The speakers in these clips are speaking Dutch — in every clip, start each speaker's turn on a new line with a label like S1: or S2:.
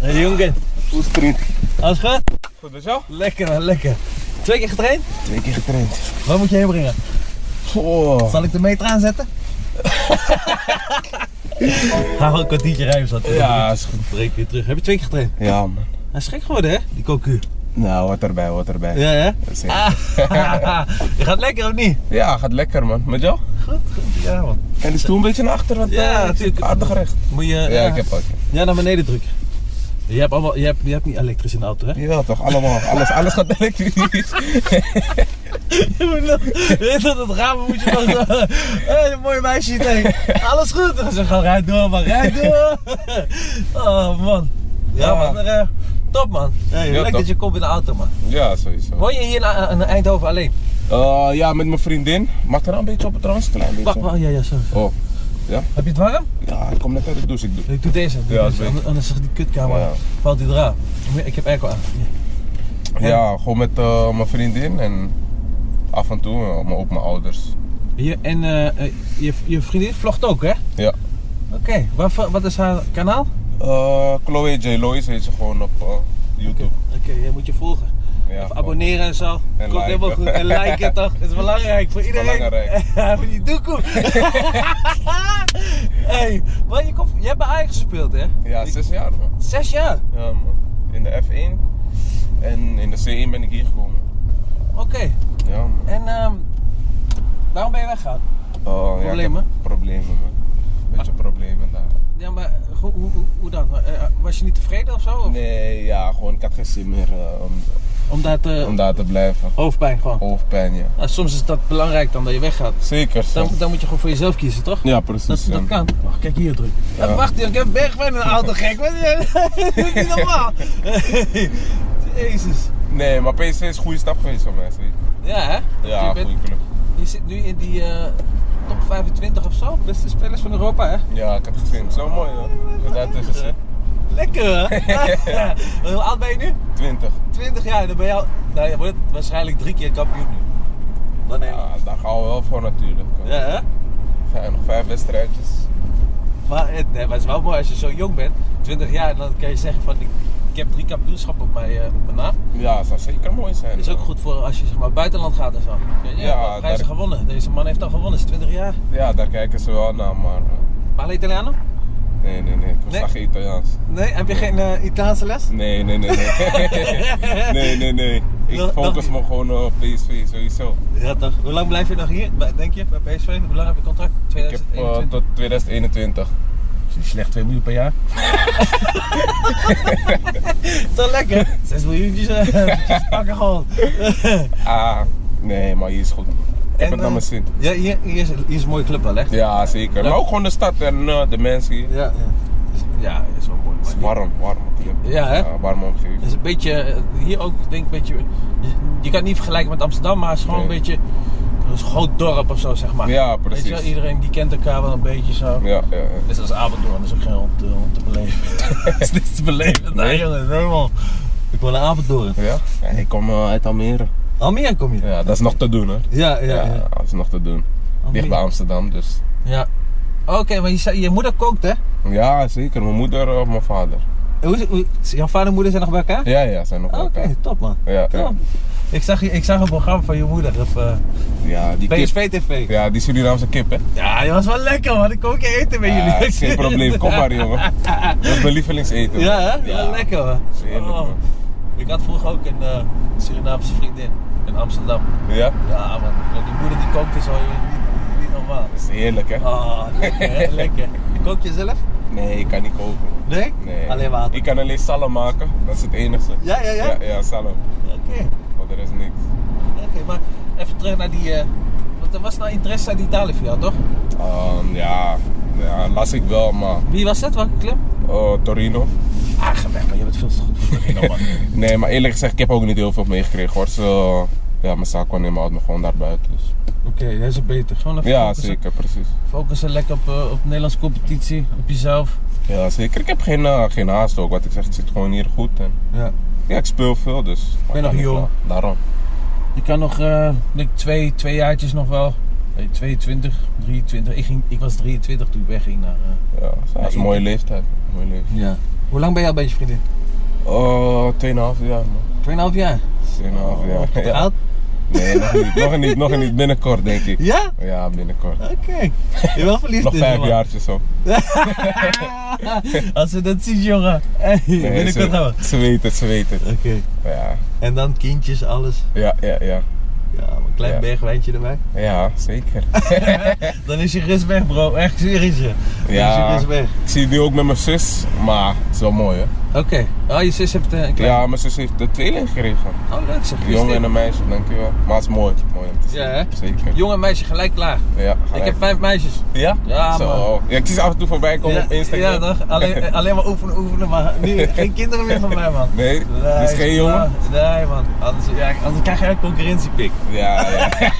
S1: Jongen,
S2: Hoe is het vriend?
S1: alles goed?
S2: Goed met jou?
S1: Lekker man, lekker. Twee keer getraind?
S2: Twee keer getraind.
S1: Waar moet je heen brengen?
S2: Oh.
S1: Zal ik de meter aanzetten? Ga gewoon een kwartiertje rijden zat.
S2: Ja, is goed.
S1: breek weer terug. Heb je twee keer getraind?
S2: Ja man.
S1: Hij is gek geworden hè, die cocu.
S2: Nou, wat erbij, wat erbij.
S1: Ja hè?
S2: Dat is het.
S1: Ah, je gaat lekker of niet?
S2: Ja, gaat lekker man. Met jou?
S1: Goed, goed. Ja man.
S2: En die stoel een beetje naar achter, want
S1: Ja,
S2: eh, ik zit
S1: natuurlijk.
S2: aardig recht.
S1: Moet je... eh,
S2: Ja, ik heb ook.
S1: Ja, naar beneden drukken. Je hebt, allemaal, je, hebt, je hebt niet elektrisch in de auto, hè?
S2: Jawel toch, allemaal. Alles, alles gaat elektrisch.
S1: Je moet nog- je weet dat het raam moet je nog zo... Hé, een mooi meisje, je denkt, alles goed? Dan zeg je, rijd door man, rijd door. Oh man. Ja,
S2: Ja.
S1: man, maar, eh, top man. Hey,
S2: Ja,
S1: leuk
S2: top.
S1: dat je komt in de auto man.
S2: Ja, sowieso.
S1: Woon je hier in, in Eindhoven alleen?
S2: Eh, ja, met mijn vriendin. Mag er nou een beetje op trouwens? Klein
S1: Wacht,
S2: beetje.
S1: wacht, ja, ja, sorry.
S2: Oh.
S1: Heb je het warm?
S2: Ja, ik kom net uit de douche. Ik doe.
S1: Ik doe deze. doe
S2: Ja, dat
S1: deze,
S2: weet ik.
S1: anders- Anders zegt die kutkamer,
S2: Ja.
S1: valt die eraan. Ik heb airco aan.
S2: Ja, gewoon met eh, mijn vriendin en af en toe eh, maar ook mijn ouders.
S1: Je, en eh, eh, je, je vriendin vlogt ook, hè?
S2: Ja.
S1: Oké, wat wat is haar kanaal?
S2: Eh, Chloe J. Lois heet ze gewoon op eh, YouTube.
S1: Oké, je moet je volgen.
S2: Ja,
S1: Even
S2: gewoon.
S1: abonneren en zo. Komt
S2: liken.
S1: helemaal goed. En liken toch? Het is belangrijk voor iedereen.
S2: belangrijk.
S1: voor die doekoe. hey, maar je, komt, je hebt bij Ajax gespeeld hè?
S2: Ja, zes jaar man.
S1: Zes jaar?
S2: Ja man. In de F1 en in de C1 ben ik hier gekomen.
S1: Oké.
S2: Ja man.
S1: En ehm waarom ben je weggegaan?
S2: Oh, ja, ik heb
S1: Problemen? Ah.
S2: problemen man. Beetje problemen daar.
S1: Ja, maar hoe, hoe, hoe- hoe dan? Eh, Was je niet tevreden of zo? Of-
S2: Nee, ja, gewoon ik had geen zin meer eh, om,
S1: Omdat eh,
S2: om daar te blijven.
S1: hoofdpijn gewoon.
S2: Hoofdpijn ja.
S1: Nou, soms is dat belangrijk dan dat je weggaat.
S2: Zeker
S1: Dan,
S2: Sam.
S1: dan moet je gewoon voor jezelf kiezen, toch?
S2: Ja precies
S1: Dat, dat
S2: Sam.
S1: kan. Oh, kijk hier druk.
S2: Ja.
S1: Eh, wacht, ik heb bergwijn in de auto gek. Wat is dit? Dit is niet normaal. Jezus.
S2: Nee, maar PSV is een goede stap geweest voor mij. zeker.
S1: Ja, hè?
S2: Ja,
S1: je,
S2: een
S1: bent-
S2: goede club.
S1: je zit nu in die eh, top 25 of zo. Beste spelers van Europa, hè?
S2: Ja, ik heb het gezien. Zo mooi hoor. Dat daar tussen zit.
S1: Lekker, hè? Ja. Hoe oud ben je nu?
S2: 20.
S1: 20 jaar. Dan ben je, al- nou, je wordt waarschijnlijk drie keer kampioen nu. Dan neem ik.
S2: Ja, daar gaan we wel voor natuurlijk.
S1: Ja, hè?
S2: Vijf- nog vijf wedstrijdjes.
S1: Maar het, nee, maar het is wel mooi als je zo jong bent, 20 jaar, dan kan je zeggen van ik, ik heb drie kampioenschappen op mijn, eh, op mijn naam.
S2: Ja, zou zeker mooi zijn.
S1: Dat is ook goed voor als je zeg maar buitenland gaat en zo. Ja,
S2: Ja,
S1: ja prijzen
S2: daar-
S1: gewonnen. Deze man heeft al gewonnen, is 20 jaar.
S2: Ja, daar kijken ze wel naar, maar... eh,
S1: Parla Italiano?
S2: Nee, nee, nee. Ik was
S1: Nee?
S2: echt Italiaans.
S1: Nee, heb je geen eh, Italiaanse les?
S2: Nee, nee, nee, nee. nee, nee, nee. Ik
S1: Nog- nog
S2: focus
S1: niet.
S2: me gewoon op PSV sowieso.
S1: Ja toch. Hoe lang blijf je nog hier, bij- denk je, bij PSV? Hoe lang heb je contract?
S2: Ik heb eh,
S1: 2021?
S2: tot 2021.
S1: slecht 2 miljoen per jaar. is dat lekker? 6 miljoentjes eh, pakken gewoon.
S2: Ah, nee, maar hier is goed. Ik heb
S1: En,
S2: het naar mijn
S1: eh,
S2: zin.
S1: Ja, hier, hier, is, hier is een mooie club wel echt.
S2: Ja, zeker.
S1: leuk.
S2: Maar ook gewoon de stad en eh, de mensen hier.
S1: Ja, ja, is wel mooi.
S2: Het is warm, warm. club.
S1: Ja, hè?
S2: warme omgeving.
S1: Het is een beetje, eh, hier ook, ik denk een beetje, je, je kan het niet vergelijken met Amsterdam, maar het is gewoon
S2: Nee.
S1: een beetje het is een groot dorp of zo, zeg maar.
S2: Ja,
S1: Weet je wel,
S2: precies.
S1: iedereen die kent elkaar wel een beetje zo.
S2: Ja, ja, ja.
S1: Net als Apeldoorn, dat is ook geen om te, om te beleven. dat is niks te beleven. Nee,
S2: Nee.
S1: jongen, normaal. Ik wil naar Apeldoorn.
S2: Ja? Ja, ik kom eh, uit Almere.
S1: Almere kom je?
S2: Ja, dat is nog te doen, hè?
S1: Ja, ja, ja.
S2: dat is nog te doen. Dicht bij
S1: Almere.
S2: Amsterdam, dus.
S1: Ja. Oké, maar je, zei- je moeder kookt, hè?
S2: Ja, zeker. Mijn moeder of mijn vader.
S1: Hoe, hoe, jouw vader en moeder zijn nog bij elkaar?
S2: Ja, ja, zijn nog
S1: Oké,
S2: wel elkaar.
S1: top man.
S2: Ja, ja.
S1: Top. Ik, zag, je- ik zag een programma van je moeder op eh,
S2: Ja, die kip.
S1: PSV TV.
S2: Ja, die Surinaamse kip, hè?
S1: Ja, die was wel lekker man. Ik kom ook keer eten met
S2: Ja,
S1: jullie.
S2: geen probleem. Kom maar, jongen. Dat is mijn lievelingseten.
S1: Ja, hè? Ja, lekker hoor. Oh.
S2: is heerlijk, man.
S1: Ik had vroeger ook een eh, Surinaamse vriendin in Amsterdam.
S2: Ja?
S1: Ja man, die moeder die kookte zo, je- niet, niet normaal.
S2: Dat is heerlijk, hè?
S1: Oh, lekker hè, lekker. Kook je zelf?
S2: Nee, ik kan niet koken.
S1: Nee?
S2: Nee.
S1: Alleen water?
S2: Ik kan alleen salm maken. Dat is het enige.
S1: Ja, ja, ja?
S2: Ja, salm.
S1: Oké,
S2: Want er is niks.
S1: Oké, maar even terug naar die... eh, want er was nou interesse uit Italië voor jou, toch?
S2: Ehm, ja, ja, las ik wel, maar...
S1: Wie was dat? Welke club?
S2: eh, Torino.
S1: Ah, ga weg, maar je bent veel te goed voor Torino, man.
S2: Nee, maar eerlijk gezegd, ik heb ook niet heel veel meegekregen hoor. Zo, ja, mijn zaak kwam helemaal uit me gewoon daar buiten. Dus.
S1: Oké, dat is beter. Gewoon even
S2: Ja,
S1: focussen.
S2: zeker, precies.
S1: Focussen lekker op, eh, op Nederlandse competitie, op jezelf.
S2: Ja, zeker. Ik heb geen, eh, geen haast ook. Wat ik zeg, ik zit gewoon hier goed. En,
S1: Ja.
S2: ja, ik speel veel, dus.
S1: ben nog
S2: Ik kan
S1: jong.
S2: niet klaar. Daarom.
S1: Je kan nog eh, denk ik twee, twee jaartjes nog wel. Nee, 22, 23. Ik, ging, ik was 23 toen ik wegging naar. eh,
S2: Ja, dat is
S1: ik-
S2: een mooie leeftijd. Mooie leeftijd.
S1: ja. Hoe lang ben jij al bij je vriendin?
S2: Oh, 2,5 jaar, man.
S1: 2,5 jaar.
S2: 2,5 jaar. Ja.
S1: Oh, Oud?
S2: Nee, nog niet, nog niet, nog niet. Binnenkort, denk ik.
S1: Ja?
S2: Ja, binnenkort.
S1: Oké. Je bent wel verliefd dus,
S2: Nog
S1: in
S2: vijf
S1: man.
S2: jaartjes zo.
S1: Als ze dat ziet, jongen. Hey, binnenkort gaan we.
S2: ze, ze weten het, ze weten het.
S1: Oké.
S2: Ja,
S1: En dan kindjes, alles.
S2: ja, ja, ja.
S1: Ja, maar een klein
S2: Ja.
S1: bergwijntje erbij.
S2: Ja, zeker.
S1: Dan is je rust weg, bro. Echt serieus. je. Dan is je
S2: Ja.
S1: rust weg.
S2: Ik zie het nu ook met mijn zus, maar het is wel mooi, hè.
S1: Oké. Oh, je zus heeft eh, een klein...
S2: Ja, mijn zus heeft de tweeling gekregen.
S1: Oh, leuk zeg.
S2: Een jongen en een meisje, dankjewel. Maar het is mooi. mooi om te zien.
S1: Ja, hè?
S2: Zeker.
S1: Jong en meisje gelijk klaar.
S2: Ja,
S1: Ik
S2: gelijk.
S1: heb vijf meisjes.
S2: Ja?
S1: Ja,
S2: Zo. Ja, ik zie ze af en toe voorbij komen op Instagram.
S1: Ja, toch? Alleen, alleen maar oefenen, oefenen, maar nu geen kinderen meer van mij, man.
S2: Nee?
S1: Nee,
S2: Dus geen jongen?
S1: Nee, man. Anders, ja, anders krijg je een concurrentiepik.
S2: Ja, ja.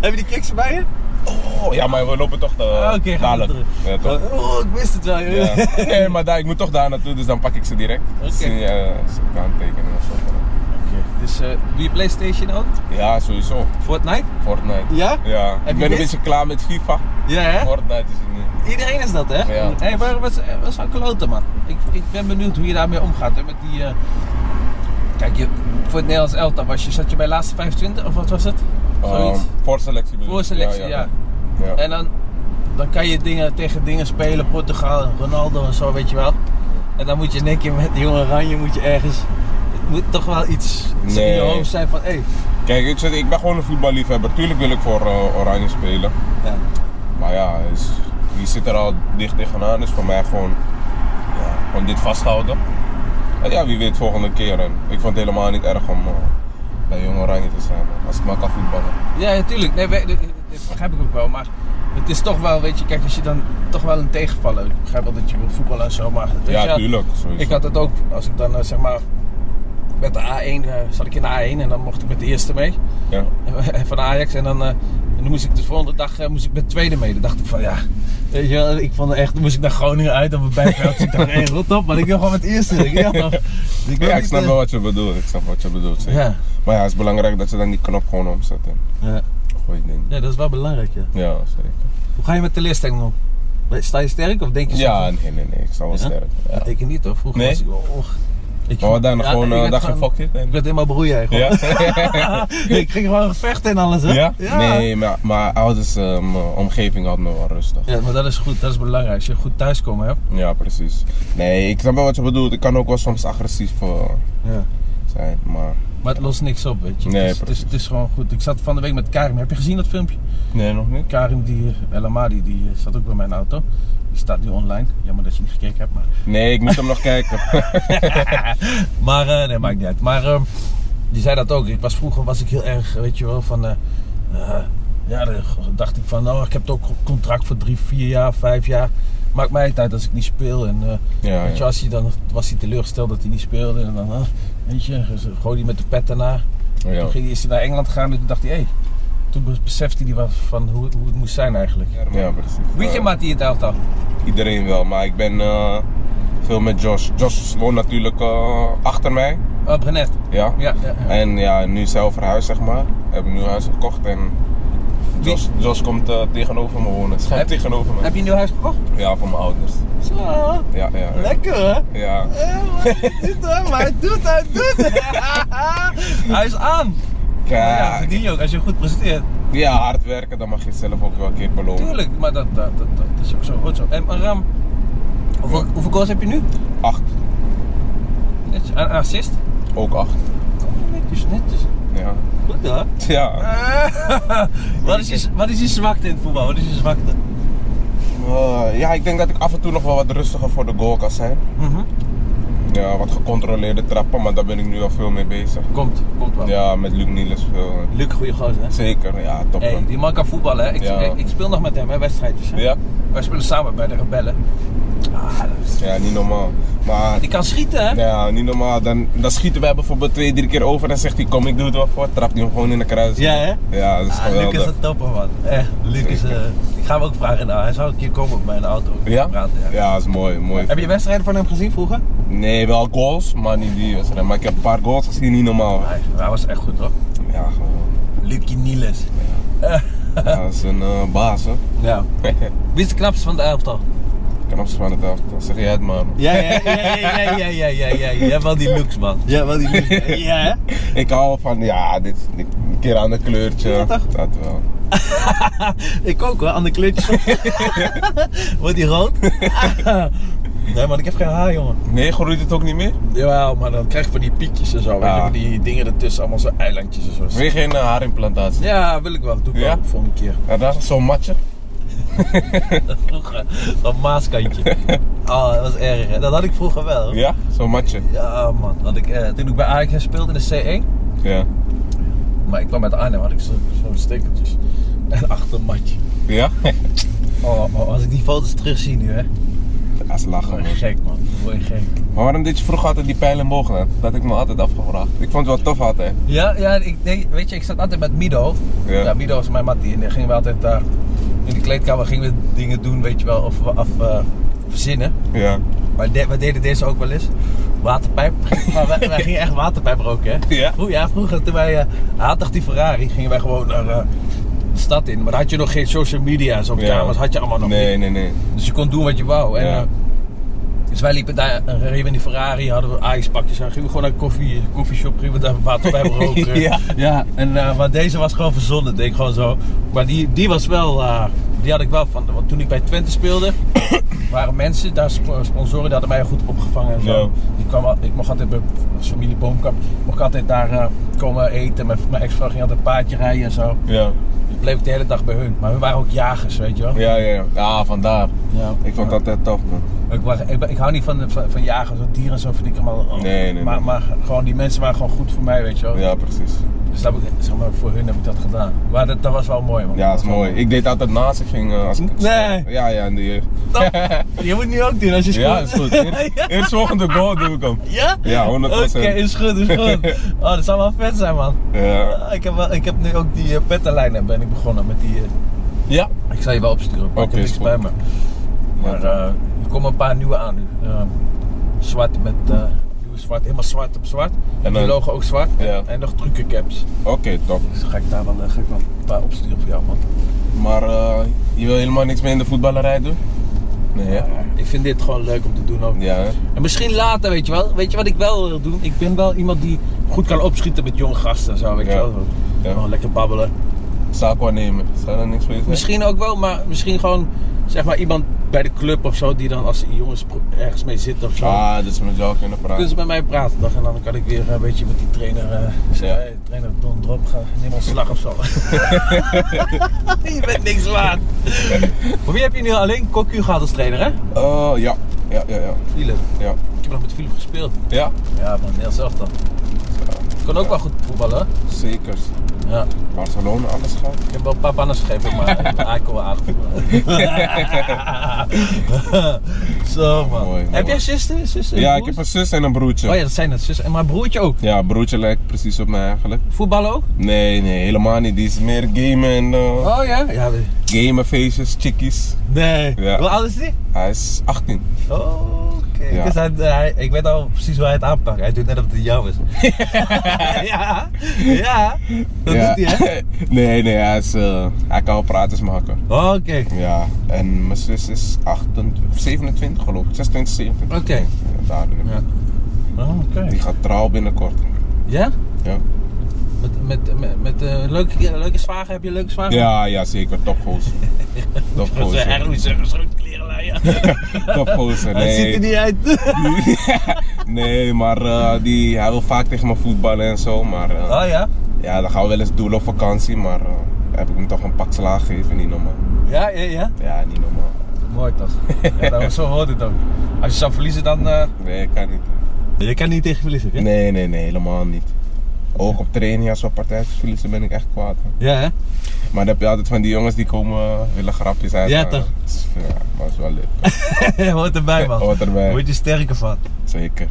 S1: Heb je die kiks bij je?
S2: Oh, ja, maar we lopen toch de,
S1: Ah, Oké, gaan we
S2: dadelijk.
S1: terug.
S2: Ja, toch?
S1: Oh, ik wist het wel, joh.
S2: Ja. Nee, maar daar, ik moet toch daar naartoe, dus dan pak ik ze direct.
S1: Oké.
S2: Zie je, uh, aantekenen of zo.
S1: Dus eh, doe je PlayStation ook?
S2: Ja, sowieso.
S1: Fortnite?
S2: Fortnite.
S1: Ja?
S2: Ja.
S1: je
S2: Ik ben
S1: dit?
S2: een beetje klaar met FIFA.
S1: Ja, hè?
S2: Fortnite is het niet.
S1: Iedereen is dat, hè?
S2: Ja.
S1: Hey, maar wat, wat is van kloten, man? Ik, ik ben benieuwd hoe je daarmee omgaat, hè? Met die. eh, Kijk, je, voor het Nederlands elftal was je, zat je bij laatste 25 of wat was het? Zoiets.
S2: Ehm, voorselectie bedoel ik.
S1: Voorselectie, ja.
S2: Ja.
S1: En dan, dan kan je dingen, tegen dingen spelen, Portugal, Ronaldo en zo, weet je wel. En dan moet je in één keer met de jonge Oranje moet je ergens. Het moet toch wel iets in je
S2: Nee.
S1: hoofd zijn van, hé. Hey.
S2: Kijk, ik, zeg, ik ben gewoon een voetballiefhebber. Tuurlijk wil ik voor eh, Oranje spelen.
S1: Ja.
S2: Maar ja, is, die zit er al dicht tegenaan. Dus voor mij gewoon, ja, gewoon dit vasthouden. En ja, wie weet volgende keer. En ik vond het helemaal niet erg om eh, bij Jong Oranje te zijn. man. Als ik maar kan voetballen.
S1: Ja, natuurlijk. Nee, we- de- dat begrijp ik ook wel. Maar het is toch wel, weet je, kijk, als je dan toch wel een tegenvaller. Ik begrijp wel dat je wil voetballen en zo, maar. weet je
S2: ja,
S1: wel,
S2: tuurlijk. Sowieso.
S1: Ik had het ook, als ik dan eh, zeg maar. Met de A1 eh, zat ik in de A1 en dan mocht ik met de eerste mee.
S2: Ja.
S1: van Ajax. En dan, eh, en dan moest ik de volgende dag eh, moest ik met tweede mee. Dan dacht ik van ja. Weet je wel, ik vond het echt, dan moest ik naar Groningen uit op een bijveld. ik dacht, hé, rot op, maar ik wil gewoon met eerste. Ik, ja, toch? Dus wil
S2: Ja, ik
S1: niet,
S2: snap
S1: eh,
S2: wel wat je bedoelt. Ik snap wat je bedoelt. zeker.
S1: Ja.
S2: Maar ja, het is belangrijk dat je dan die knop gewoon omzet. En
S1: Ja.
S2: gooi ding.
S1: ja, dat is wel belangrijk. Ja.
S2: Ja, zeker.
S1: Hoe ga je met teleurstelling om? Sta je sterk of denk je
S2: Ja, nee, nee, nee. Ik sta wel
S1: Ja?
S2: sterk. Ja.
S1: Dat ik niet hoor. Vroeger
S2: Nee?
S1: was ik oh, och. ik
S2: Maar wat dan?
S1: ja,
S2: gewoon,
S1: ik
S2: eh,
S1: werd
S2: dacht je,
S1: gewoon-
S2: fuck dit?
S1: Ik
S2: En...
S1: werd helemaal broeien.
S2: Ja?
S1: ik ging gewoon vechten en alles. Hè?
S2: ja? Nee, maar mijn ouders, eh, mijn omgeving had me wel rustig.
S1: Ja, maar dat is goed, dat is belangrijk. Als je goed thuiskomen hebt.
S2: Ja, precies. Nee, ik snap wel wat je bedoelt. Ik kan ook wel soms agressief eh,
S1: Ja.
S2: zijn, maar...
S1: Maar het lost niks op, weet je.
S2: Nee,
S1: het, is, het, is,
S2: precies.
S1: het is gewoon goed. Ik zat van de week met Karim. Heb je gezien dat filmpje?
S2: Nee, nog niet.
S1: Karim, die eh, El Amadi, die eh, zat ook bij mijn auto. Die staat nu online. Jammer dat je niet gekeken hebt, maar...
S2: Nee, ik moet hem nog kijken.
S1: Maar, eh, nee, maakt niet uit. Maar ehm, die zei dat ook. Ik was vroeger was ik heel erg, weet je wel, van... eh, eh, ja, dan dacht ik van, nou, ik heb toch een contract voor drie, vier jaar, vijf jaar. Maakt mij het uit als ik niet speel. En, eh,
S2: Ja,
S1: weet je,
S2: ja.
S1: als hij dan was hij teleurgesteld dat hij niet speelde. En dan, eh, weet je, gooi hij met de pet daarna.
S2: ja.
S1: Toen ging, is hij naar Engeland gegaan en toen dacht hij, hé. Toen be- besefte hij wel van hoe, hoe het moest zijn eigenlijk.
S2: Ja, precies.
S1: Weet je
S2: Eh,
S1: Maat die het elftal?
S2: Iedereen wel, maar ik ben eh, veel met Josh. Josh woont natuurlijk eh, achter mij.
S1: Oh, Brenet.
S2: Ja.
S1: Ja. ja, ja.
S2: En ja, nu zelf verhuisd, zeg maar. Heb ik nu huis gekocht en
S1: Wie-
S2: Josh, Josh komt eh, tegenover me wonen. Schuin
S1: Heb-
S2: tegenover me.
S1: Heb je een nieuw huis gekocht?
S2: Ja, van mijn ouders.
S1: Zo.
S2: Ja, ja. ja.
S1: Lekker hè?
S2: Ja.
S1: Eh, maar hij doet hoor, maar hij doet, hij doet. hij is aan. Maar ja,
S2: Kijk.
S1: verdien je ook als je goed presteert.
S2: Ja, hard werken, dan mag je het zelf ook wel een keer belonen.
S1: Tuurlijk, maar dat, dat, dat, dat is ook zo. Hoort zo. En maar Ram, hoeveel, hoeveel goals heb je nu?
S2: Acht.
S1: Netjes. Een assist?
S2: Ook acht.
S1: Oh, netjes, netjes.
S2: Ja.
S1: Goed hè?
S2: Ja.
S1: Eh, wat, is je, wat is je zwakte in het voetbal? Wat is je zwakte?
S2: Eh, ja, ik denk dat ik af en toe nog wel wat rustiger voor de goal kan zijn.
S1: Mhm.
S2: Ja, wat gecontroleerde trappen, maar daar ben ik nu al veel mee bezig.
S1: Komt, komt wel.
S2: Ja, met Luc Niels veel.
S1: Luc, goede gozer hè?
S2: Zeker, ja, top.
S1: Hey, die man kan voetballen hè? Ik,
S2: Ja.
S1: ik, ik speel nog met hem hè, wedstrijdjes hè?
S2: Ja?
S1: Wij spelen samen bij de Rebellen. Ah, dat is-
S2: Ja, niet normaal. Maar
S1: Die kan schieten hè?
S2: Ja, niet normaal. Dan, dan schieten wij bijvoorbeeld twee, drie keer over en zegt hij kom, ik doe het wel voor. Trapt hij hem gewoon in de kruis.
S1: Ja, hè?
S2: Ja, dat is
S1: Ah,
S2: geweldig.
S1: Luc is een topper man. Echt, Luc is... eh, ik ga hem ook vragen nou, hij zou een keer komen op mijn auto. Ik ga
S2: Ja?
S1: Praten, ja.
S2: Ja, dat is mooi. mooi.
S1: Heb je wedstrijden van hem gezien vroeger?
S2: Nee, wel goals, maar niet die wedstrijd. Maar ik heb een paar goals gezien, niet normaal.
S1: Hij, hij was echt goed hoor.
S2: Ja, gewoon.
S1: Lucie Niels.
S2: Ja, dat is een eh, baas, hè.
S1: Ja. Wie is de knapste van de elftal?
S2: Ik kan Amsterdam het af. Dan zeg jij het maar. man.
S1: Ja, ja, ja, ja, ja, ja, ja, ja, ja. Jij hebt wel die looks, man.
S3: Ja, wel die liefde. Ja, hè?
S2: Ik hou van, ja, dit is dit- een keer aan de kleurtje.
S3: Ja, toch?
S2: Dat wel.
S3: Ik ook hoor, aan de kleurtjes.
S1: Wordt die rood? nee, man, ik heb geen haar, jongen.
S2: Nee, groeit het ook niet meer?
S1: Jawel, maar dan krijg je van die piekjes en zo. Weet je,
S2: Ah.
S1: van die dingen ertussen, allemaal zo eilandjes en zo.
S2: Weer geen eh, haarimplantatie.
S1: Ja, wil ik wel. Doe ik
S2: Ja?
S1: wel de volgende keer.
S2: Ja, dat is zo'n matje.
S1: Vroeger, dat maaskantje. Oh, dat was erg. hè. Dat had ik vroeger wel.
S2: Ja, zo'n matje.
S1: Ja, man. Had ik, eh, toen ik bij Ajax speelde in de C1,
S2: Ja.
S1: maar ik kwam uit Arnhem, had ik zo- zo'n stekeltjes. En achter een matje.
S2: Ja?
S1: Oh, oh, als ik die foto's terugzie nu, hè.
S2: Dat is lachen,
S1: Word
S2: man.
S1: je gek, man. Word je gek.
S2: Maar waarom deed je vroeger altijd die pijl en boog dan? Dat had ik me altijd afgevraagd. Ik vond het wel tof altijd.
S1: Ja, ja ik, nee, weet je, ik zat altijd met Mido.
S2: Ja.
S1: Ja, Mido is mijn mattie. En dan gingen we altijd daar in de kleedkamer gingen we dingen doen, weet je wel, of, of eh, verzinnen.
S2: Ja.
S1: Maar de- we deden deze ook wel eens. Waterpijp. Maar wij, wij gingen echt waterpijp roken, hè?
S2: Ja.
S1: Vroeger, ja, vroeger toen wij... eh, hij had toch die Ferrari, gingen wij gewoon naar eh, de stad in. Maar dan had je nog geen social media en zo.
S2: Ja.
S1: Kamers had je allemaal nog
S2: Nee,
S1: niet.
S2: nee, nee.
S1: Dus je kon doen wat je wou. En,
S2: Ja.
S1: eh, dus wij liepen daar, en reden we in die Ferrari, hadden we ijspakjes aan. Gingen we gewoon naar een koffie, eh, koffieshop, gingen we daar waterpijp roken.
S2: Ja.
S1: ja en, eh, maar deze was gewoon verzonnen, denk ik gewoon zo. Maar die, die was wel... eh, die had ik wel van... Want toen ik bij Twente speelde waren mensen, daar sp- sponsoren, die hadden mij goed opgevangen en zo.
S2: Ja.
S1: Die kwam, al- ik mocht altijd bij onze familie Boomkamp, mocht ik altijd daar eh, komen eten. Mijn, mijn ex-vrouw ging altijd paardje rijden en zo.
S2: Ja.
S1: Dus bleef ik de hele dag bij hun. Maar hun waren ook jagers, weet je wel.
S2: Ja, ja, ja. Ja, vandaar.
S1: Ja.
S2: Ik vond dat echt tof, man.
S1: Ik, was- ik, ben- ik hou niet van, de- van, van jagers, want dieren en zo vind ik allemaal... oh,
S2: Nee, nee, nee.
S1: maar, maar gewoon, die mensen waren gewoon goed voor mij, weet je wel.
S2: Ja, precies.
S1: Dus dat heb ik, zeg maar, voor hun heb ik dat gedaan. Maar dat, dat was wel mooi, man.
S2: Ja, dat is
S1: Dat was wel
S2: mooi. Ik deed altijd naast. Ik ging eh, als ik...
S1: Nee.
S2: Ja, ja, in de jeugd.
S1: Je moet het nu ook doen als je scoort.
S2: Ja, is goed. Eerst, eerst volgende goal doe ik hem.
S1: Ja?
S2: Ja, 100%.
S1: Oké, is goed, is goed. Oh, dat zou wel vet zijn, man.
S2: Ja.
S1: Ah, Ik heb, wel- ik heb nu ook die uh, ben ik begonnen met die... eh,
S2: Ja.
S1: ik zal je wel opsturen, maar
S2: Oké,
S1: ik heb
S2: is
S1: niks
S2: goed.
S1: bij me. Maar eh, er komen een paar nieuwe aan nu. Eh, zwart met... eh, nieuwe zwart, helemaal zwart op zwart. En
S2: dan-
S1: die logo ook zwart.
S2: Ja.
S1: En nog trucencaps.
S2: Oké, top.
S1: Dus dan ga ik daar wel, eh, ga ik wel een paar opsturen voor jou, man.
S2: Maar eh, je wil helemaal niks meer in de voetballerij doen? Nee, ja.
S1: Ja, Ik vind dit gewoon leuk om te doen ook.
S2: Ja, hè?
S1: En misschien later, weet je wel. Weet je wat ik wel wil doen? Ik ben wel iemand die goed kan opschieten met jonge gasten en zo, weet
S2: Ja.
S1: je wel. Zo,
S2: Ja.
S1: Gewoon lekker babbelen.
S2: Zaak waarnemen. Zou daar niks voor je zijn?
S1: Misschien ook wel, maar misschien gewoon zeg maar iemand bij de club of zo die dan als die jongens pro- ergens mee zit of zo.
S2: Ah, dus met jou kunnen
S1: Kunnen
S2: praten.
S1: ze met mij praten dag en dan kan ik weer eh, een beetje met die trainer, eh
S2: Ja.
S1: zeggen, "Hey, trainer Don Drop, ga, neem ons slag of zo. je bent niks waard. Voor wie heb je nu alleen Cocu gehad als trainer hè?
S2: Oh, ja. Ja, ja, ja.
S1: Philip.
S2: Ja.
S1: Ik heb nog met Philip gespeeld.
S2: Ja?
S1: Ja man, heel zelf dan. Kon ook wel goed voetballen.
S2: Zeker.
S1: hè? Ja.
S2: Barcelona, alles gehad.
S1: Ik heb wel een paar banners gegeven, maar ik heb mijn eikel wel aangevoerd. Zo man.
S2: Mooi, mooi.
S1: Heb jij zuster? zuster
S2: Ja, ik
S1: broers?
S2: heb een zus en een broertje.
S1: Oh ja, dat zijn het zussen. En mijn broertje ook.
S2: Ja, broertje lijkt precies op mij eigenlijk.
S1: Voetballen ook?
S2: Nee, nee, helemaal niet. Die is meer gamen en eh,
S1: Oh ja? Ja. we-
S2: gamenfeestjes, chickies.
S1: Nee.
S2: Ja.
S1: Hoe oud is die?
S2: Hij is 18.
S1: Oh, oké.
S2: Ja.
S1: Dus hij- hij- ik weet al precies hoe hij het aanpakt. Hij doet net of het jou is. ja. Ja. Dat
S2: Ja.
S1: doet hij hè?
S2: nee, nee, hij, is, eh, hij kan wel praten, is mijn hakker.
S1: Oké.
S2: Ja, en mijn zus is 28, of 27 geloof ik. 26, 27.
S1: Oké.
S2: Ja, daar in de
S1: Ja.
S2: buurt.
S1: Oh, Oké.
S2: Die gaat trouwen binnenkort.
S1: Ja?
S2: Ja,
S1: Met, met, met, met eh, leuke, leuke zwager heb je een leuke zwager?
S2: ja, ja zeker. Topgozer.
S1: Ah. Dat is eh,
S2: Topgozer.
S1: eigenlijk zo'n groot klerenlijn.
S2: Topgozer,
S1: Hij ziet er
S2: nee.
S1: niet uit.
S2: Nee, maar eh, die, hij wil vaak tegen me voetballen en zo. Maar eh,
S1: Oh ja?
S2: ja, dan gaan we wel eens doelen op vakantie. Maar eh, heb ik hem toch een pak slaag gegeven. Niet normaal.
S1: Ja, ja, ja.
S2: Ja, niet normaal.
S1: Mooi toch? Ja, dat, zo hoort het ook. Als je zou verliezen, dan... eh,
S2: Nee, kan niet.
S1: Je kan niet tegen verliezen, hè?
S2: Nee, nee, nee, helemaal niet. Ook op training, als we partij verliezen, ben ik echt kwaad. hè.
S1: Ja, hè?
S2: Maar dan heb je altijd van die jongens die komen, eh, willen grapjes uit.
S1: Ja,
S2: eh,
S1: toch?
S2: het is- Ja, maar het is wel leuk.
S1: hoort erbij, man.
S2: Hoort erbij.
S1: Word je sterker van.
S2: Zeker.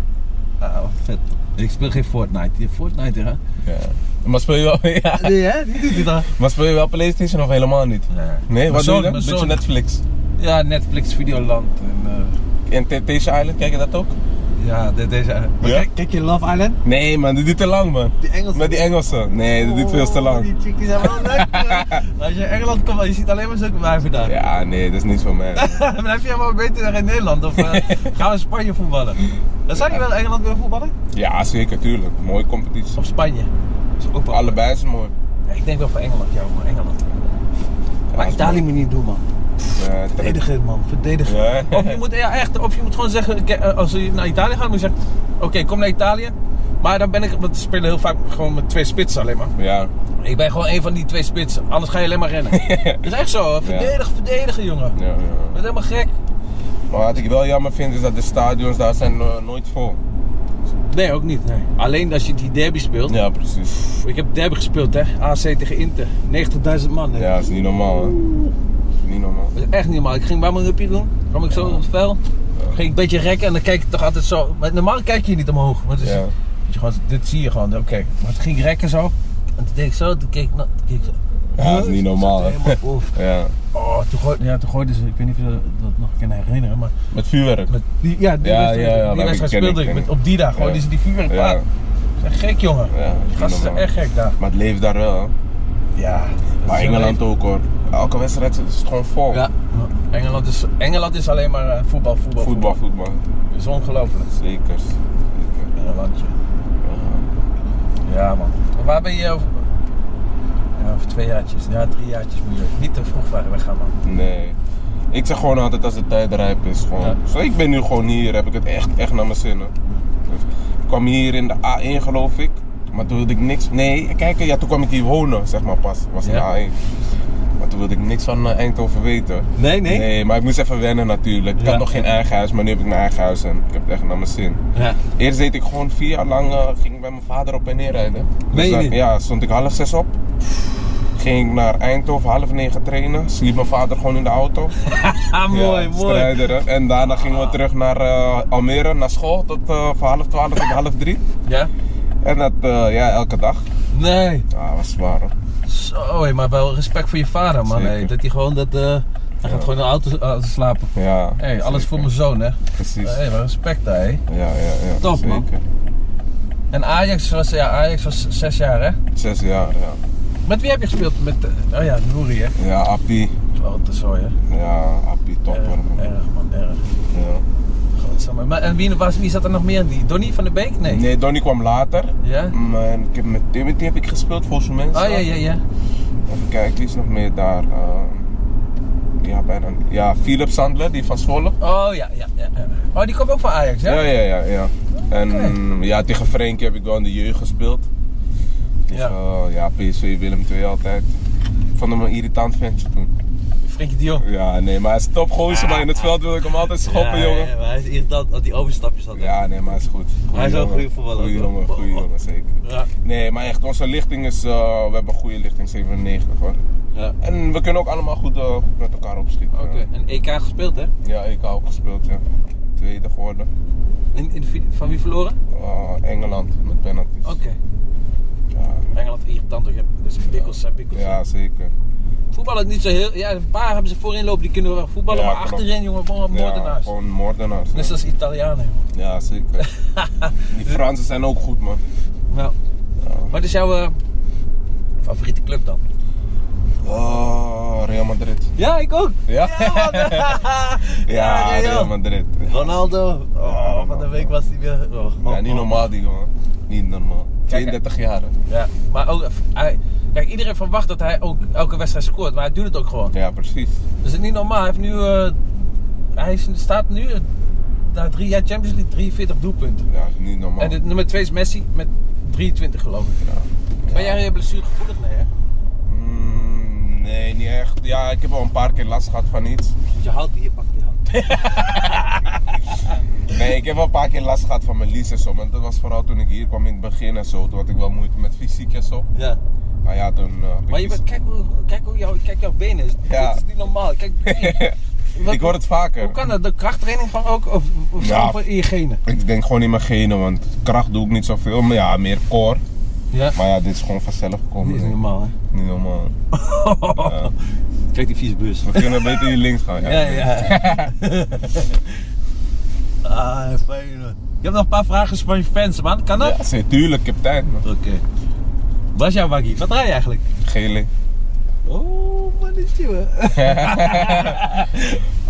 S1: Ah, wat vet. Ik speel geen Fortnite. Je Fortnite, hè?
S2: Ja. Maar speel je wel, ja.
S1: Nee, hè? Die doet het al.
S2: Maar speel je wel PlayStation of helemaal niet? Nee, wat doe je dan? Beetje Netflix.
S1: Ja, Netflix, Videoland en... eh,
S2: En Temptation Island, kijk je dat ook?
S1: Ja, dit is... eh,
S2: Ja?
S3: Kijk, kijk je Love Island?
S2: Nee man, dit duurt te lang man.
S3: Die Engelsen.
S2: Met die Engelsen. Nee, dit duurt veel te
S3: Oh, Die
S2: lang.
S3: chickies zijn wel lekker.
S1: Als je in Engeland komt, je ziet alleen maar zulke wijven daar.
S2: Ja, nee, dat is niet voor mij.
S1: Dan heb je helemaal beter dan in Nederland. Of eh, gaan we in Spanje voetballen? Dan zou je wel in Engeland willen voetballen?
S2: Ja, zeker, tuurlijk. Mooie competitie.
S1: Of Spanje? Dat is ook wel-
S2: Allebei is mooi.
S1: Ja, ik denk wel voor Engeland, ja, voor Engeland. Maar
S2: is
S1: Italië moet je niet doen, man.
S2: Eh, trek-
S3: Verdedig het man, verdedig het.
S2: Ja.
S1: Of je moet, ja, echt, of je moet gewoon zeggen, ke- eh, als je naar Italië gaat, moet je zeggen, oké, kom naar Italië. Maar dan ben ik, want ze spelen heel vaak gewoon met twee spitsen alleen maar.
S2: Ja,
S1: Ik ben gewoon één van die twee spitsen, anders ga je alleen maar rennen. Dat is echt zo, hè. verdedig, verdedigen jongen.
S2: ja, ja.
S1: Dat is helemaal gek.
S2: Maar wat ik wel jammer vind is dat de stadions daar zijn eh, nooit vol.
S1: Nee, ook niet. Nee. Alleen als je die derby speelt.
S2: Ja, precies.
S1: Ik heb derby gespeeld, hè. AC tegen Inter. 90.000 man, hè.
S2: Ja, dat is niet normaal hè. Niet normaal.
S1: Dat is echt niet normaal. Ik ging bij mijn huppie doen. kwam ik zo op het vel. Ging ik een beetje rekken en dan kijk ik toch altijd zo. Maar normaal kijk je niet omhoog. Want het is-
S2: Ja.
S1: weet je, gewoon, dit zie je gewoon. Oké. Maar toen ging ik rekken zo. En toen deed ik zo. Toen keek ik, na- toen keek ik zo.
S2: Ja, dat is niet normaal
S1: Zat er
S2: hè.
S1: helemaal voor.
S2: Ja.
S1: Oh, toen, gooi, ja, toen gooiden ze, ik weet niet of je dat nog kan herinneren, maar
S2: Met vuurwerk.
S1: met die, ja, die
S2: Ja,
S1: wedstrijd,
S2: ja, ja,
S1: die
S2: dat
S1: wedstrijd
S2: ken ik,
S1: speelde ik,
S2: ken
S1: met,
S2: ik.
S1: op die dag gooiden
S2: Ja.
S1: ze die vuurwerk
S2: Ja.
S1: ja. Gek jongen,
S2: Ja, dat is
S1: die
S2: niet
S1: gasten zijn
S2: normaal.
S1: echt gek daar.
S2: Maar het leeft daar wel. hè.
S1: Ja,
S2: Maar Engeland ook hoor. Elke wedstrijd is het gewoon vol.
S1: Ja, Engeland is, Engeland is alleen maar eh, voetbal, voetbal,
S2: Voetbal, voetbal.
S1: Het is ongelooflijk.
S2: Zeker. Zeker.
S1: Engeland, ja. Ja, man. Maar waar ben je over... Ja, over twee jaartjes. Ja, drie jaartjes moet je niet te vroeg ver weggaan, man.
S2: Nee. Ik zeg gewoon altijd als de tijd rijp is. Gewoon.
S1: Ja.
S2: Zo, ik ben nu gewoon hier, heb ik het echt, echt naar mijn zin. hè. Dus, ik kwam hier in de A1 geloof ik. Maar toen wilde ik niks. Nee, kijk, ja, toen kwam ik hier wonen, zeg maar pas. Was in
S1: Ja.
S2: de A1. Maar toen wilde ik niks van eh, Eindhoven weten.
S3: Nee, nee.
S2: maar ik moest even wennen natuurlijk. Ik
S3: Ja.
S2: had nog geen eigen huis, maar nu heb ik mijn eigen huis en ik heb het echt naar mijn zin.
S3: Ja.
S2: Eerst deed ik gewoon vier jaar lang, eh, ging ik bij mijn vader op en neer rijden.
S3: Meen je
S2: dan-
S3: niet?
S2: ja, stond ik half zes op. Ging ik naar Eindhoven, half negen trainen. Sliep mijn vader gewoon in de auto.
S3: Ah, mooi,
S2: Ja,
S3: mooi.
S2: strijder, hè. En daarna gingen we terug naar eh, Almere, naar school. Tot eh, van half twaalf tot half drie.
S1: Ja?
S2: En dat, eh, ja, elke dag.
S1: Nee.
S2: Ja, was zwaar hoor.
S1: Zo, hé, maar wel respect voor je vader, man.
S2: Zeker.
S1: hé. dat hij gewoon dat... eh, hij gaat gewoon in de auto eh, slapen.
S2: Ja.
S1: Hé, alles
S2: zeker.
S1: voor mijn zoon, hè.
S2: Precies.
S1: Hé, maar respect daar, hé.
S2: Ja, ja, ja.
S1: Top,
S2: zeker.
S1: man. En Ajax was, ja, Ajax was zes jaar, hè.
S2: Zes jaar, ja.
S1: Met wie heb je gespeeld? Met, eh, oh ja, Nouri, hè.
S2: Ja, Appie.
S1: Grote zooi, hè.
S2: Ja, Appie, topper.
S1: Erg,
S2: man.
S1: erg, man, erg.
S2: Ja.
S1: Godsamme. Maar, en wie, was, wie zat er nog meer in die? Donny van de Beek? Nee.
S2: Nee, Donnie kwam later.
S1: Ja?
S2: Maar ik heb met Timothy heb ik gespeeld volgens mij.
S3: Ah,
S1: Oh ja, ja, ja.
S2: Even kijken, wie is nog meer daar? Ehm, ja, bijna. Ja, Philip Sandler, die van Zwolle.
S1: Oh ja, ja, ja. ja. Oh, die komt ook van Ajax, hè?
S2: Ja, ja, ja. ja. En mm,
S1: Oké.
S2: ja, tegen Frenkie heb ik wel in de jeugd gespeeld. Tegen, ja. ja, PSV Willem II altijd. Ik vond hem een irritant ventje toen.
S1: Frenkie de Jong.
S2: Ja, nee, maar hij is topgozer, maar in het veld wil ik hem altijd schoppen,
S3: Ja,
S2: jongen.
S3: ja, maar hij is irritant dat hij overstapjes had. hè.
S2: Ja, nee, maar hij is goed. Goeie
S3: Hij is wel een
S2: jongen.
S3: goede voetballer,
S2: Goeie
S3: toch?
S2: jongen, goeie jongen, zeker.
S3: Ja.
S2: Nee, maar echt, onze lichting is, eh, we hebben een goede lichting, 97 hoor.
S3: Ja.
S2: En we kunnen ook allemaal goed eh, met elkaar opschieten.
S1: Oké, en EK gespeeld, hè?
S2: Ja, ik heb ook gespeeld, ja. Tweede geworden.
S1: In, in de fi- van wie verloren?
S2: Eh, Engeland met penalties.
S1: Oké.
S2: Ja,
S1: Engeland irritant, toch? Je hebt- Dus bikkels zijn bikkels.
S2: ja, zeker.
S1: Voetballen niet zo heel... Ja, een paar hebben ze voorin lopen, die kunnen wel voetballen.
S2: Ja,
S1: maar
S2: klopt.
S1: achterin, jongen, gewoon
S2: Ja,
S1: moordenaars. Dus
S2: gewoon moordenaars.
S1: Net
S2: Ja.
S1: zoals Italianen, jongen.
S2: Ja, zeker. Die Fransen zijn ook goed, man.
S1: Nou. Wat is jouw eh, favoriete club dan?
S2: Oh, Real Madrid.
S1: Ja, ik ook.
S2: Ja?
S1: ja,
S2: Ja, Real Madrid.
S3: Ronaldo.
S2: Ja,
S3: Oh, van de
S2: man.
S3: week was hij weer. Oh,
S2: Ja,
S3: oh,
S2: niet
S3: oh.
S2: normaal die jongen. Niet normaal. 32 jaar. hè.
S1: Ja, maar ook, hij, kijk, iedereen verwacht dat hij ook elke wedstrijd scoort, maar hij doet het ook gewoon.
S2: Ja, precies.
S1: Dus het is niet normaal. Hij, heeft nu, eh, hij is- staat nu, eh, na drie jaar Champions League, 43 doelpunten.
S2: Ja, is niet normaal.
S1: En de nummer 2 is Messi met 23 geloof ik. Ben jij blessuregevoelig? Nee hè?
S2: Mm, nee, niet echt. Ja, ik heb wel een paar keer last gehad van iets.
S3: Je houdt hier, pak die hand.
S2: Nee, ik heb wel een paar keer last gehad van mijn lies en zo. Maar dat was vooral toen ik hier kwam in het begin en zo. Toen had ik wel moeite met fysiek en zo.
S3: Ja.
S2: Maar ja, toen... eh, heb ik
S1: Maar je
S2: iets-
S1: bent, kijk, hoe, kijk, hoe jou, kijk jouw benen, is.
S2: Ja.
S1: dit is niet normaal. Kijk, wat-
S2: ik hoor het
S1: Hoe
S2: vaker.
S1: kan dat? De krachttraining van ook? Of, of
S2: Ja.
S1: zo in je genen?
S2: Ik denk gewoon in mijn genen, want kracht doe ik niet zoveel. Maar ja, meer core.
S1: Ja.
S2: Maar ja, dit is gewoon vanzelf gekomen.
S1: Dit is
S2: denk
S1: niet
S2: ik.
S1: normaal hè?
S2: Niet normaal. Ja.
S3: Kijk die vieze bus.
S2: We kunnen beter hier links gaan. Ja.
S1: ja.
S3: Ah, fijn.
S1: hebt nog een paar vragen van je fans, man. Kan dat?
S2: Ja, zeker, tuurlijk, ik heb tijd, man.
S1: Oké. Wat is jouw waggie? Wat draai je eigenlijk?
S2: Gele.
S1: Oh, mannetje. hè.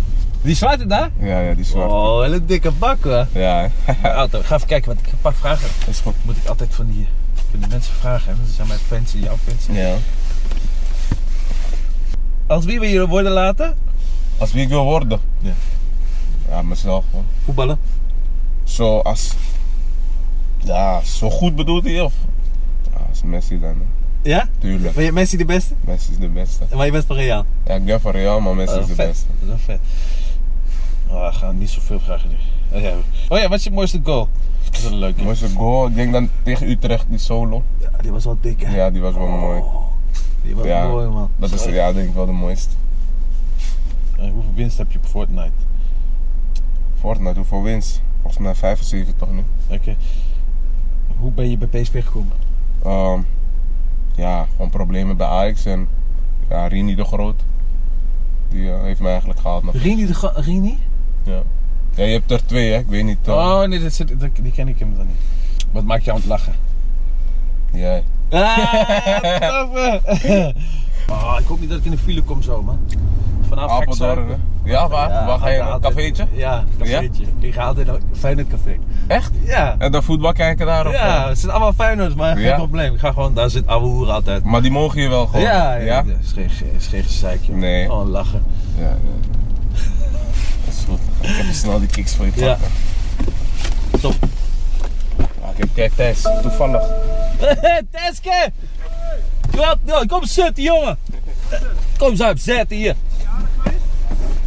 S1: Die zwarte daar?
S2: Ja, ja, die zwart.
S1: Oh, hele dikke bak hoor.
S2: Ja,
S1: Mijn auto. Ik ga even kijken, want ik heb een paar vragen.
S2: is goed.
S1: Moet ik altijd van die, van die mensen vragen, hè? want Dat zijn mijn fans en jouw fans.
S2: Ja.
S1: Als wie wil je worden laten?
S2: Als wie ik wil worden?
S1: Ja.
S2: Ja, mezelf, man.
S3: Voetballen.
S2: Zo als... Ja, zo goed bedoelt hij, of? Ja, als Messi dan, hè.
S3: Ja?
S2: Tuurlijk,
S3: Ben je Messi de beste?
S2: Messi is de beste.
S3: Maar je bent van Real.
S2: Ja, ik ben van Real, maar Messi
S1: Oh,
S2: is de
S1: vet.
S2: beste.
S1: Dat is wel vet. Oh, we gaan niet zoveel vragen nu. Oh ja. oh ja, wat is je mooiste goal? Dat is een leuke.
S2: Mooiste goal, ik denk dan tegen Utrecht, die solo.
S3: Ja, die was wel dik hè. Oh,
S2: Ja, die was wel mooi.
S1: Die was
S2: Ja,
S1: mooi man.
S2: Dat is, ja, denk ik wel de mooiste.
S1: Eh, hoeveel winst heb je op Fortnite?
S2: Fortnite, hoeveel winst? Volgens mij 75 nu.
S1: Oké. Hoe ben je bij PSV gekomen?
S2: Ehm, ja, gewoon problemen bij Ajax en ja, Rini de Groot. Die eh, heeft mij eigenlijk gehaald. nog.
S1: Rini de Go- Rini?
S2: Ja, je hebt er twee, hè? Ik weet niet. eh,
S1: Oh nee, dat zit, dat- die ken ik hem dan niet. Wat maakt jou aan het lachen?
S2: Jij.
S1: Ah, oh, ik hoop niet dat ik in de file kom zo, man. Vanavond ga ik
S2: Apeldoorn, hè?
S1: zuipen.
S2: Ja, waar?
S1: Ja,
S2: waar ga je? Een
S1: altijd-
S2: cafeetje?
S1: Ja, cafeetje. Ik ga altijd naar Feyenoord Café.
S2: Echt?
S1: Ja.
S2: En dan Eh, voetbal kijken daar? of, eh?
S1: Ja, het zijn allemaal Feyenoords, maar geen
S2: Ja?
S1: probleem. Ik ga gewoon, daar zit ouwe hoer altijd.
S2: eh? Maar die mogen je wel gewoon.
S1: Ja, ja, ja. Is geen, ge- is geen gezeik, joh.
S2: Nee.
S1: Gewoon lachen.
S2: Ja, ja. Dat is goed. Ik heb snel die kicks voor je
S1: Ja.
S2: pakken.
S1: Top.
S2: Ah, kijk, kijk Thijs, toevallig.
S1: Teske! Wat? Nou, kom zitten, jongen. Kom eens even zitten hier.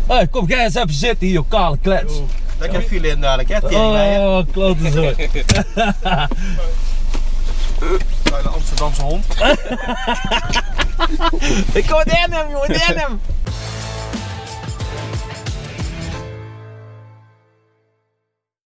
S1: Hey, kom jij eens even zitten hier, joh, kale klets.
S4: Lekker file in dadelijk, hè? Tegen
S1: Oh, klote zo.
S4: de Amsterdamse hond.
S1: Ik kom in hem, jongen, in hem.